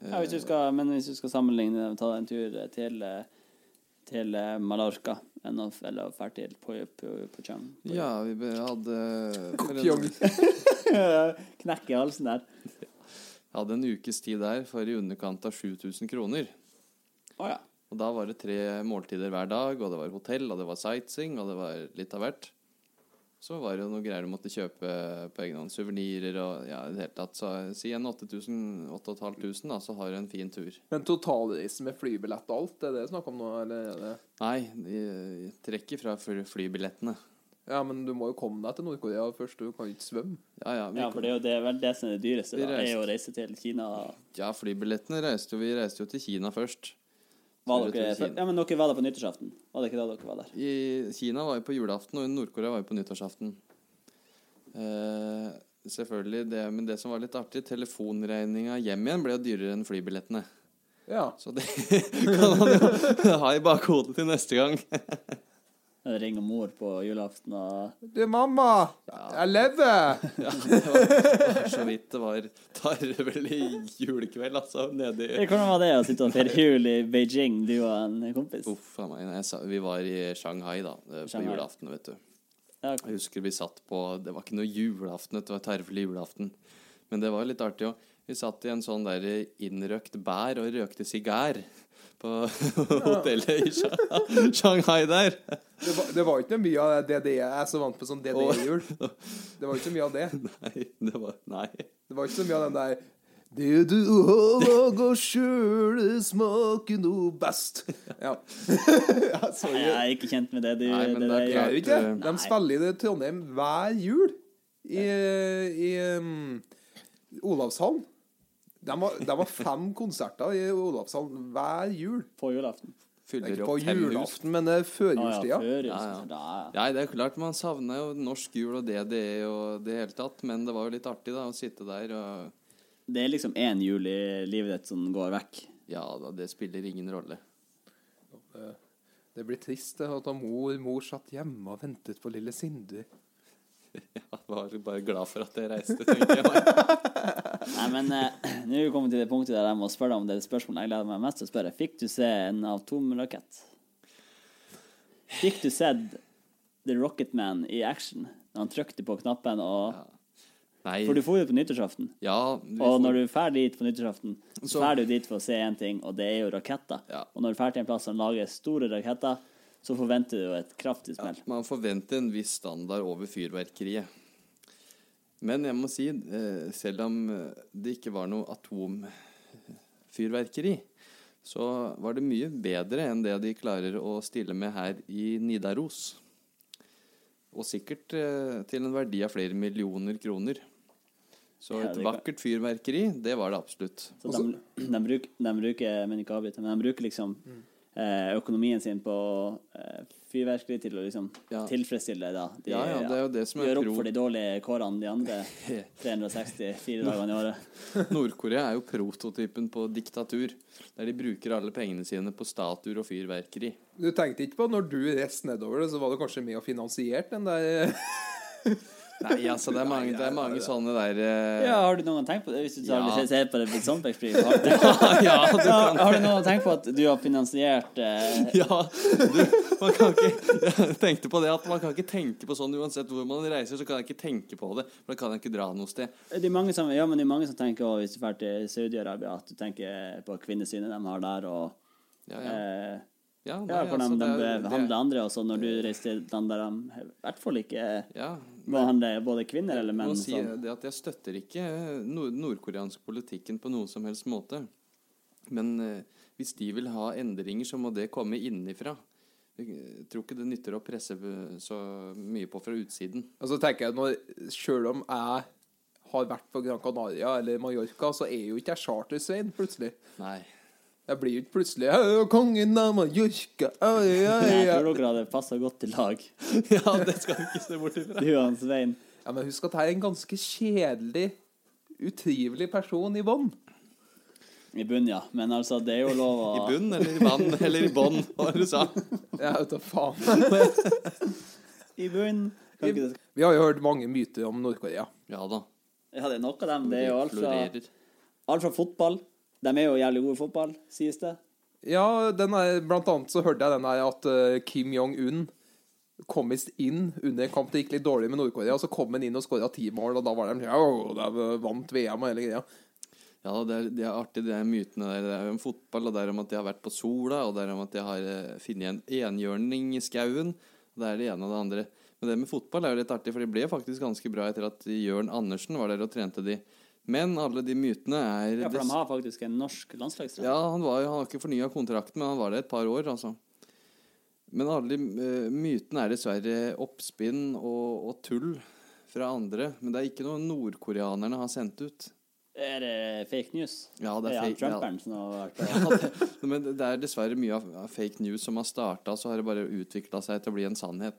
Ja, hvis du skal, men hvis du skal sammenligne det, ta en tur til, eh, til eh, Mallorca enn å f- eller dra til Poi- Poi- Pochang. Ja, vi be- hadde Pyong. Knekk i halsen der. hadde en ukes tid der for i underkant av 7000 kroner. Å ja. Og da var det tre måltider hver dag, og det var hotell, og det var sightseeing, og det var litt av hvert. Så var det jo noe greier du måtte kjøpe på egen hånd. Suvenirer og ja, i det hele tatt. Så si en 8500, da, så har du en fin tur. Men totalreisen med flybillett og alt, det er det snakk om nå? Eller er det? Nei, de- trekk ifra fly- flybillettene. Ja, men du må jo komme deg til Nord-Korea først, du kan jo ikke svømme. Ja, ja. Vi, ja, for det er jo det, er vel det som er det dyreste, Vi da, er reiste. jo å reise til Kina. ja flybillettene reiste jo Vi reiste jo til Kina først. Var Skulle dere, til Kina. ja, men dere var der på nyttårsaften? Var det ikke da dere var der? I Kina var jo på julaften, og i Nord-Korea var jo på nyttårsaften. Eh, selvfølgelig, det, men det som var litt artig, telefonregninga hjem igjen ble jo dyrere enn flybillettene. Ja. Så det kan han jo ha i bakhodet til neste gang. Ringe mor på julaften og Du, mamma! Jeg lever! Ja, det var så vidt det var tarvelig julekveld, altså, nedi Hvordan var det å sitte og feire jul i Beijing, du og en kompis? Uff a meg. nei, Jeg sa, vi var i Shanghai, da, eh, på Shanghai. julaften, vet du. Ja, Jeg husker vi satt på Det var ikke noe julaften, det var tarvelig julaften. Men det var litt artig òg. Vi satt i en sånn der innrøkt bær og røkte sigar på hotellet i Sha- Shanghai der. Det var, det var ikke mye av det DDE jeg er så vant med sånn DDE-jul. Det var ikke så mye av det. Nei, det var Nei. Det var ikke så mye av den der Det du lager sjøl, smaker noe best. Ja. ja sorry. jeg er ikke kjent med det du Nei, men det det er Det er der- jo ikke det. Klart, De spiller i det Trondheim hver jul. I, i um, Olavshallen. De har, de har fem konserter i Olavshallen hver jul. På julaften. Det er Fyller Ikke på opp fem hus. julaften, men det er Ah, førjulstida. ja, før, ja, Ja, ja. Da, ja. Nei, det er klart man savna jo norsk jul og DDE og det hele tatt, men det var jo litt artig da å sitte der og Det er liksom én jul i livet ditt som går vekk. Ja da, det spiller ingen rolle. Det blir trist det, at mor, mor satt hjemme og ventet på lille Sindre. Jeg var bare glad for at jeg reiste, tenker jeg. Nei, men eh, nå er vi kommet til det punktet der jeg må spørre om det spørsmålet jeg gleder meg mest til å spørre. Fikk du se en atomrakett? Fikk du sett The Rocket Man i action? Når han trykte på knappen og Nei. For du får jo på nyttårsaften. Ja, vi Og får- når du drar dit på nyttårsaften, så Så- drar du dit for å se én ting, og det er jo raketter. Ja. Og når du drar til en plass som lager store raketter, så forventer du jo et kraftig smell. Man forventer en viss standard over fyrverkeriet. Men jeg må si, eh, selv om eh, det ikke var noe atomfyrverkeri, så var det mye bedre enn det de klarer å stille med her i Nidaros. Og sikkert eh, til en verdi av flere millioner kroner. Så Ja, et det kan- vakkert fyrverkeri, det var det absolutt. Mm. Så de, de, bruk, de bruker, men ikke avbryter, men de bruker liksom eh, økonomien sin på eh, fyrverkeri til å liksom Ja. tilfredsstille da. De, Ja, ja, det er jo det som er gjør pro- opp for de dårlige kårene de andre 364 dagene i året. Nord-Korea er jo prototypen på diktatur, der de bruker alle pengene sine på statuer og fyrverkeri. Du tenkte ikke på når du reiste nedover det, så var du kanskje med og finansierte den der Nei, altså, det er mange, det er mange sånne der eh, Ja, har du noen gang tenkt på det? Hvis du Ja. aldri ser på det på et sånt perspektiv, har du, ja, du ja, kan har du noen gang tenkt på at du har finansiert eh, Ja, du, man kan ikke Jeg tenkte på det at man kan ikke tenke på sånn uansett hvor man reiser, så kan jeg ikke tenke på det, for da kan jeg ikke dra noe sted. Det er mange som, ja, men det er mange som tenker også, hvis du drar til Saudi-Arabia, at du tenker på kvinnesynet de har der, og Ja, ja. eh, Ja, nei, ja, hvordan altså, de det er- det- behandler andre. Og så når du reiser til land der de i hvert fall ikke Ja. behandler både kvinner eller menn Nå sier sånn. jeg det at jeg støtter ikke eh, nord nordkoreansk politikken på noen som helst måte. Men eh, hvis de vil ha endringer, så må det komme innenfra. Jeg eh, tror ikke det nytter å presse eh, så mye på fra utsiden. Og så tenker jeg når, Selv om jeg har vært på Gran Canaria eller Mallorca, så er jo ikke jeg charter-Svein plutselig. Nei. Jeg blir jo ikke plutselig «Å, Kongen av Mallorca oi, oi, Jeg oi». tror dere hadde passa godt i lag, ja, det skal du ikke se bort ifra. du og han Svein. Ja, Men husk at jeg er en ganske kjedelig, utrivelig person i bånn. I bunnen, ja. Men altså, det er jo lov å I bunn eller i vann eller i bånn, hva var det du sa? Jeg vet da faen. I bunn. Kan ikke det- Vi har jo hørt mange myter om Nord-Korea. Ja da. Ja, det er nok av dem. Det er jo altså alt fra, florerer. alt fra fotball. De er jo jævlig gode i fotball, sies det. Ja, den er, blant annet så hørte jeg den her at eh, Kim Jong-un kom visst inn under en kamp det gikk litt dårlig med Nord-Korea, og så kom han inn og skåra ti mål, og da var de ja, de vant VM og hele greia. Ja, det er, det er artig, det er mytene der. Det er jo om fotball, og det er om at jeg har vært på sola, og det er om at jeg har eh, funnet en enhjørning i skauen. og Det er det ene og det andre. Men det med fotball er jo litt artig, for det ble faktisk ganske bra etter at Jørn Andersen var der og trente de. Men alle de mytene er Ja, for dess- de har faktisk en norsk landslagstrener. ja, han, var, jo- han har ikke fornya kontrakten, men han var der et par år, altså. Men alle de eh, mytene er dessverre oppspinn og, og tull fra andre. Men det er ikke noe nordkoreanerne har sendt ut. Er det fake news? Ja, det er han fake- Trumperen som har vært på Ja, det, men det er dessverre mye av av fake news som har starta, så har det bare utvikla seg til å bli en sannhet.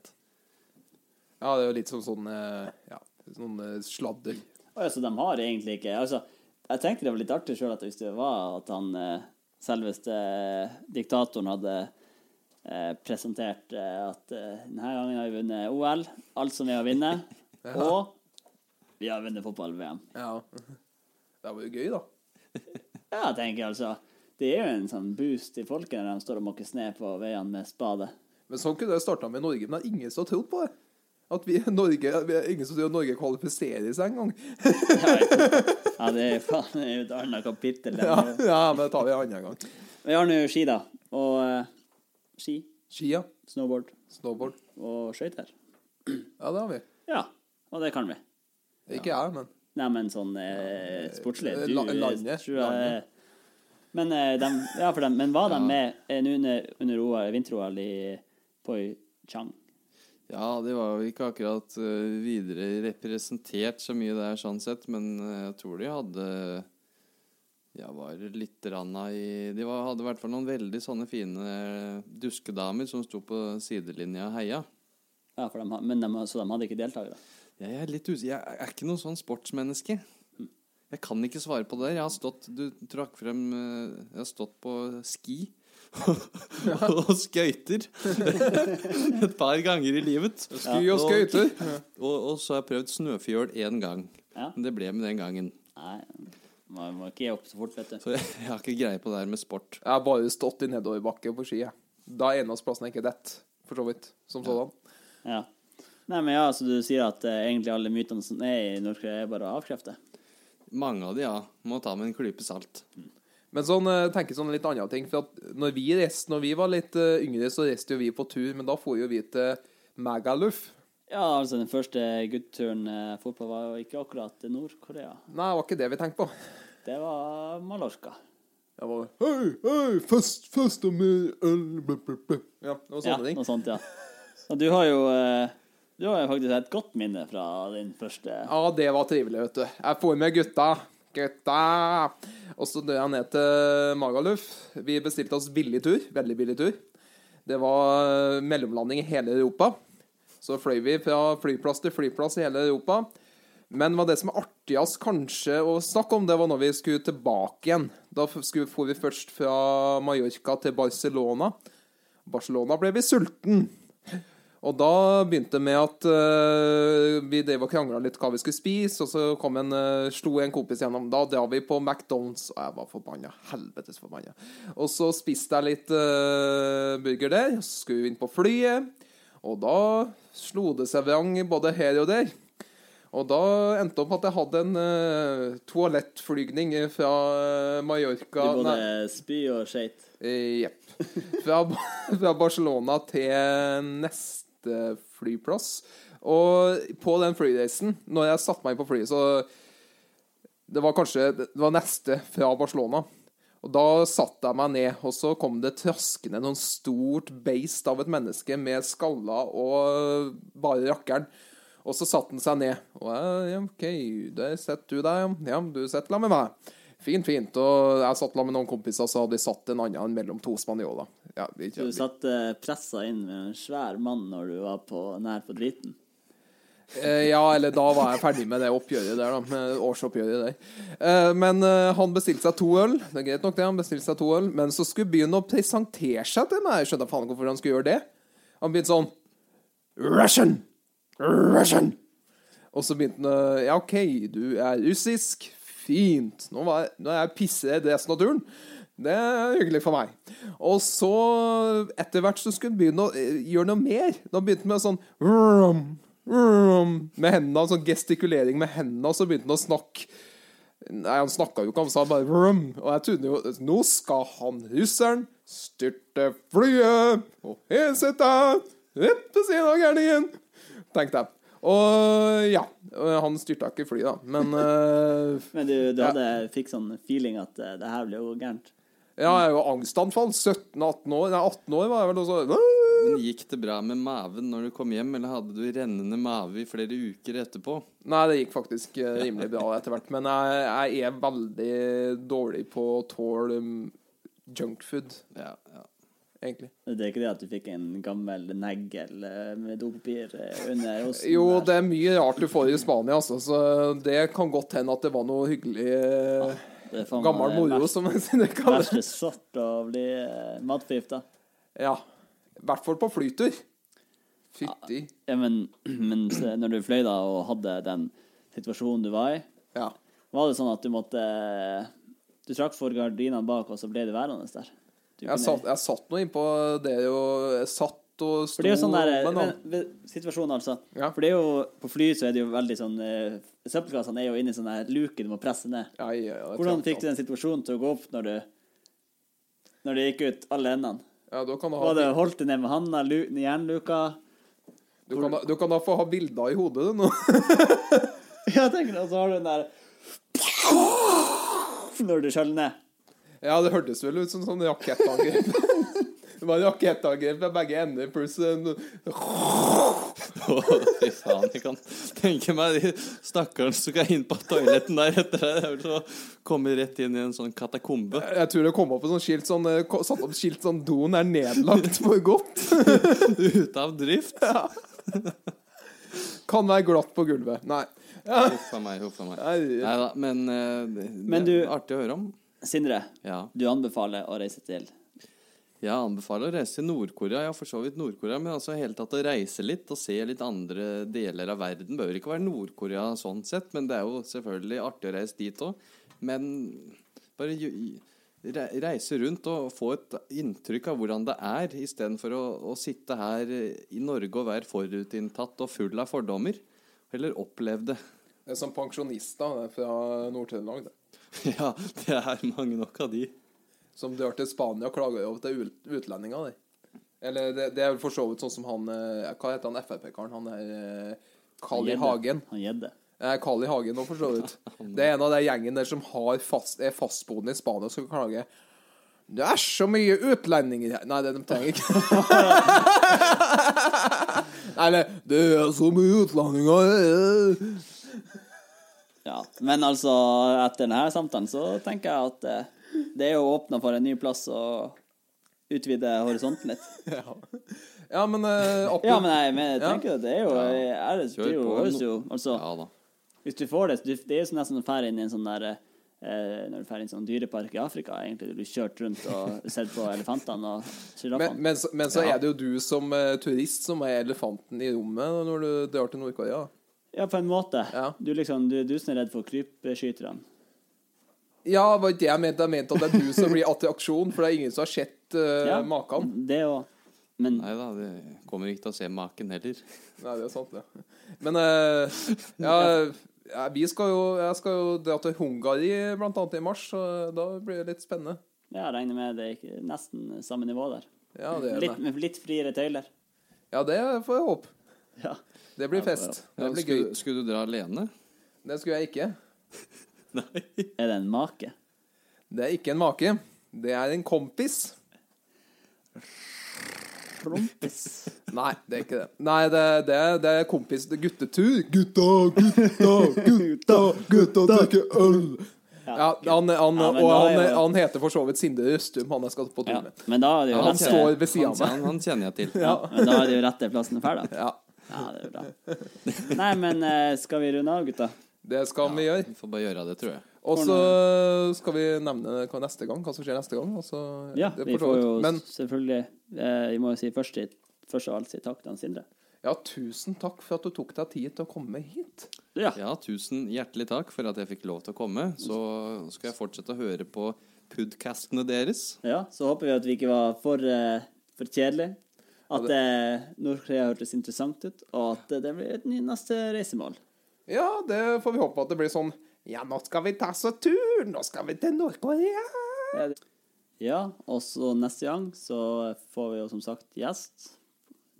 Ja, det er jo litt som sånn eh, ja, sånn eh, sladder. Å, ja, Så de har egentlig ikke altså, Jeg tenkte det var litt artig sjøl at hvis det var at han eh, selveste eh, diktatoren hadde eh, presentert eh, at eh, denne gangen har vi vunnet OL, alt som er å vinne, og vi har vunnet fotball-VM. Ja. Det var jo gøy, da. Ja, jeg tenker altså Det er jo en sånn boost i folket når de står og måker ned på veiene med spade. Men sånn kunne det starta med Norge, men det er ingen som har trodd på det. At vi, Norge, vi er ingen som tror at Norge kvalifiserer seg engang. Ja, ja, det er faen det er jo et annet kapittel. Ja, ja, men det tar vi en annen gang. Vi har nå ski, da. Og eh, ski, Skia, snowboard snowboard. og skøyter. Ja, det har vi. Ja, og det kan vi. Ikke jeg, men Nei, men sånn eh, sportslig eh, du, la- eh, landet, tror jeg- Men, eh, dem- ja, for dem, men var de med eh, nå under, under OL, vinter-OL i Poichang? Ja, de var jo ikke akkurat eh, videre representert så mye der, sånn sett, men eh, jeg tror de hadde Ja, var litt ranna i De var, hadde i hvert fall noen veldig sånne fine eh, duskedamer som sto på sidelinja og heia. Ja, for dem ha- men de, så de hadde ikke deltakere? Jeg er litt usikker. Jeg er ikke noe sånn sportsmenneske. Jeg kan ikke svare på det der. Jeg har stått Du trakk frem eh, Jeg har stått på ski og skøyter et par ganger i livet. Sky og skøyter. Og, og så har jeg prøvd snøfjøl én gang. Ja. Men det ble med den gangen. Nei, man må ikke gi opp så fort, vet du. Så jeg, jeg har ikke greie på det her med sport. Jeg har bare stått i nedoverbakke på ski. jeg. Da er eneste plassen jeg ikke detter, for så vidt. Som sådan. Ja. Nei, men ja, så du sier at eh, egentlig alle mytene som er i Nord-Korea, er bare å avkrefte? Mange av de, ja. Må ta med en klype salt. Men sånn, eh, tenker sånn litt andre ting. For at når vi, reiste, når vi var litt eh, yngre, så reiste jo vi på tur, men da for jo vi til Magaluf. Ja, altså, den første gutturen eh, fotball var jo ikke akkurat til Nord-Korea. Nei, det var ikke det vi tenkte på. Det var Mallorca. Det var Hei, hei, fest, fest og mer øl, bla, bla, bla. Ja, det var Ja, sånne ting. noe sånt, ja. Og du har jo eh, du har jo faktisk et godt minne fra din første Ja, det var trivelig, vet du. Jeg får med gutta gutta! Og så døde jeg ned til Magaluf. Vi bestilte oss billig tur. Veldig billig tur. Det var eh, mellomlanding i hele Europa. Så fløy vi fra flyplass til flyplass i hele Europa. Men hva det som er artigst kanskje å snakke om, det var når vi skulle tilbake igjen. Da f- skulle- for vi først fra Mallorca til Barcelona. Barcelona ble vi sulten. Og da begynte det med at eh, vi drev og krangla litt hva vi skulle spise, og så kom en, eh, slo en kompis gjennom. Da drar vi på McDonald's, og jeg var forbanna. Helvetes forbanna. Og så spiste jeg litt eh, burger der, og så skulle vi inn på flyet. Og da slo det seg vrang både her og der. Og da endte det opp at jeg hadde en eh, toalettflygning fra eh, Mallorca Du både Nei. spy og skeit. Eh, Jepp. Fra, fra Barcelona til neste flyplass. Og på den flyreisen, når jeg satte meg på flyet, så Det var kanskje Det var neste fra Barcelona. Og da satte jeg meg ned, og så kom det traskende noen stort beist av et menneske med skaller og bare rakkeren. Og så satte han seg ned. Og jeg, ja, OK, der setter du deg. Ja, du setter deg med meg. Fint, fint. Og jeg satt sammen med noen kompiser, så hadde vi satt en annen mellom to spanjoler. Ja, vi, Du satt eh, pressa inn med en svær mann når du var på, nær på driten. Eh, ja, eller da var jeg ferdig med det oppgjøret der, da. Med årsoppgjøret der. Eh, men eh, han bestilte seg to øl. Det er greit nok, det. Han bestilte seg to øl. Men så skulle byen å presentere seg til meg. Jeg skjønner faen ikke hvorfor han skulle gjøre det. Han begynte sånn Russian! Russian! Og så begynte han å, Ja, OK, du er russisk. Fint. Nå, var jeg, nå er jeg pissredd resten av turen. Det er hyggelig for meg. Og så, etter hvert, så skulle han begynne å eh, gjøre noe mer. Da begynte han med sånn vrum, vrum, Med hendene, sånn gestikulering med hendene, og så begynte han å snakke Nei, han snakka jo ikke, han sa bare vrum. Og jeg trodde jo Nå skal han russeren styrte flyet og her sitter jeg rett ved siden av gærningen, tenkte jeg. Og ja. Han styrta ikke flyet, da, men eh, Men du, du Ja. hadde, fikk sånn feeling at eh, det her ble jo gærent. Ja, jeg er jo angstanfall. 17-18 år. Nei, 18 år var jeg vel også. Men gikk det bra med maven når du kom hjem, eller hadde du rennende mave i flere uker etterpå? Nei, det gikk faktisk eh, rimelig bra etter hvert. Men jeg, jeg er veldig dårlig på å tåle um, junkfood, Ja, ja. egentlig. Det er ikke det at du fikk en gammel negl eh, med dopapir eh, under osten? Jo, der? det er mye rart du får i Spania, altså. Så det kan godt hende at det var noe hyggelig eh, Det er Ah, faen meg gammel det moro, verste- som det kalles. Verste sort å bli eh, matforgifta. Ja. I hvert fall på flytur. Fytti. Ja, men, men se, når du fløy da og hadde den situasjonen du var i, Ja. var det sånn at du måtte Du trakk for gardinene bak, og så ble du værende der? Du kunne- Jeg satt, jeg satt nå innpå det jo Jeg satt og sto For det er jo sånn der men men, han- men- Situasjonen, altså. Ja. For det er jo På fly så er det jo veldig sånn eh, Søppelkassene er jo inni sånn der luke du må presse ned. Ja, ja, ja, Hvordan klart, fikk du den situasjonen til å gå opp når du Når det gikk ut alle endene? Ja, da kan du ha Var det holdt du ned med handa, lu- jernluka? Du kan, da, du kan da få ha bilder i hodet, du nå. Ja, tenk deg, og så har du den der Når du skjøller ned. Ja, det hørtes vel ut som sånn rakettangrep. Det var rakettangrep ved begge ender, pluss en Å, fy faen, jeg kan tenke meg de stakkaren som skal inn på toaletten der etter deg. Det er vel så komme rett inn i en sånn katakombe. Jeg tror det kom opp et sånt skilt sånn eh, ko- Satt opp skilt sånn Doen er nedlagt for godt. Ute av drift. Kan være glatt på gulvet. Nei. Ja. Huff a meg, huff a meg. Nei, Nei da, men eh, det, Men det du- er artig å høre om. Sindre, Ja. du anbefaler å reise til Jeg anbefaler å reise til Nord-Korea. Jeg har for så vidt Nord-Korea, men altså i hele tatt å reise litt og se litt andre deler av verden. Bør ikke være Nord-Korea sånn sett, men det er jo selvfølgelig artig å reise dit òg. Men bare ju- re- reise rundt og få et inntrykk av hvordan det er, istedenfor å, å sitte her i Norge og være forutinntatt og full av fordommer. Heller opplev det. Det er som pensjonister det er fra Nord-Trøndelag, det. ja, det er mange nok av de. Som dør til Spania og klager over til ut- utlendinger, de. Eller det, det er vel for så vidt sånn som han eh, Hva heter han Frp-karen? Han er eh, Carl I. Gjedde. Hagen. Han gjedde. Eh, Carl I. Hagen nå, for så vidt. Det er en av de gjengen der som har fast, er fastboende i Spania og skal klage. Det er så mye utlendinger her Nei, det de trenger ikke. Eller Det er så mye utlendinger her. Ja, Men altså, etter denne samtalen så tenker jeg at eh, det er jo åpna for en ny plass å utvide horisonten litt. Ja, ja men eh, opp- Ja, men jeg, men jeg Ja. tenker jo det er jo er det, det er jo, Kjør på. høres jo Altså, Ja da. hvis du får det du, Det er jo sånn nesten å fære inn i en sånn der eh, Når du drar inn i en sånn dyrepark i Afrika, egentlig, du blir kjørt rundt og sett på elefantene og men, sjiraffene. men, så- men så er det jo du som eh, turist som er elefanten i rommet når du drar til Nord-Korea. Ja, på en måte. Ja. Du liksom, du, du som er redd for krypskyterne. Ja, var ikke det jeg mente. Jeg mente at det er du som blir attraksjon, for det er ingen som har sett uh, Ja. maken. Det òg. Men Nei da, de kommer ikke til å se maken heller. Nei, det er sant, det. Men eh, ja, ja, vi skal jo, jeg skal jo dra til Hungary blant annet i mars, så da blir det litt spennende. ja, jeg regner med det er ikke- nesten samme nivå der. Ja, det, Litt, med litt friere tøyler. ja, det får jeg håpe. Ja. Det blir fest. Det blir gøy. Skulle, skulle du dra alene? Det skulle jeg ikke. Er det en make? Det er ikke en make. Det er en kompis. Prompis. Nei, det er ikke det. Nei, det, det, det er kompis det er guttetur. Gutta, gutta, gutta, gutta drikker øl. Ja, han, han, Ja, men og da er han, jo- han heter for så vidt Sinde Røstum, han jeg skal på tur Ja. med. Men da er det jo Han rette, står ved siden Han, av meg. han, han kjenner jeg til. ja, men da er det jo rette plassen ferdig. da. Ja, Ja, det er bra. Nei, men eh, skal vi runde av, gutta? det skal vi gjøre. Vi får bare gjøre det, tror jeg. Og så skal vi nevne hva neste gang, hva som skjer neste gang. Og så, Ja, det er vi for så får vidt. jo Men selvfølgelig eh, Vi må jo si først, i- først av alt si takk til han Sindre. ja, tusen takk for at du tok deg tid til å komme hit. Ja. Ja, tusen hjertelig takk for at jeg fikk lov til å komme. Så skal jeg fortsette å høre på podkastene deres. ja. Så håper vi at vi ikke var for, eh, for kjedelige. At eh, Nord-Korea hørtes interessant ut, og at eh, det blir et ny neste reisemål. Ja, det får vi håpe at det blir sånn Ja, nå skal vi ta så tur! Nå skal vi til Nord-Korea! Ja, det- Ja, og så neste gang så får vi jo som sagt gjest.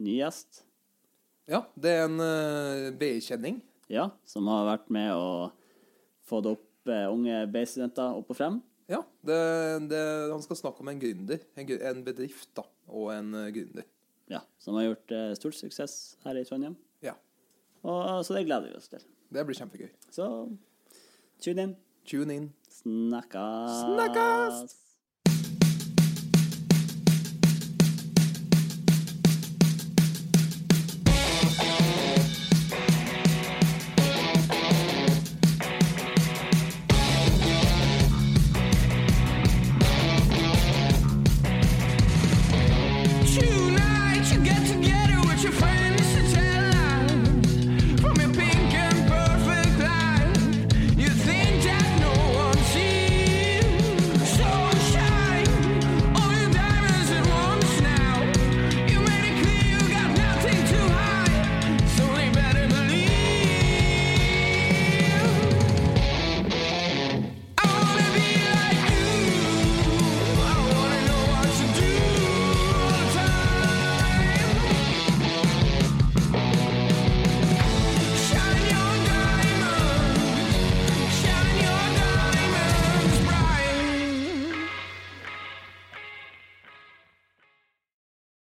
Ny gjest. Ja, det er en uh, BI-kjenning. Ja, som har vært med å få det opp eh, unge BI-studenter opp og frem. Ja, det, det, han skal snakke om en gründer. En, gr- en bedrift, da. Og en eh, gründer. Ja, som har gjort eh, stor suksess her i Trondheim. Ja. Og, eh, så det gleder vi oss til. Det blir kjempegøy. Så tune in. Tune in. Snakkes! Snakkes!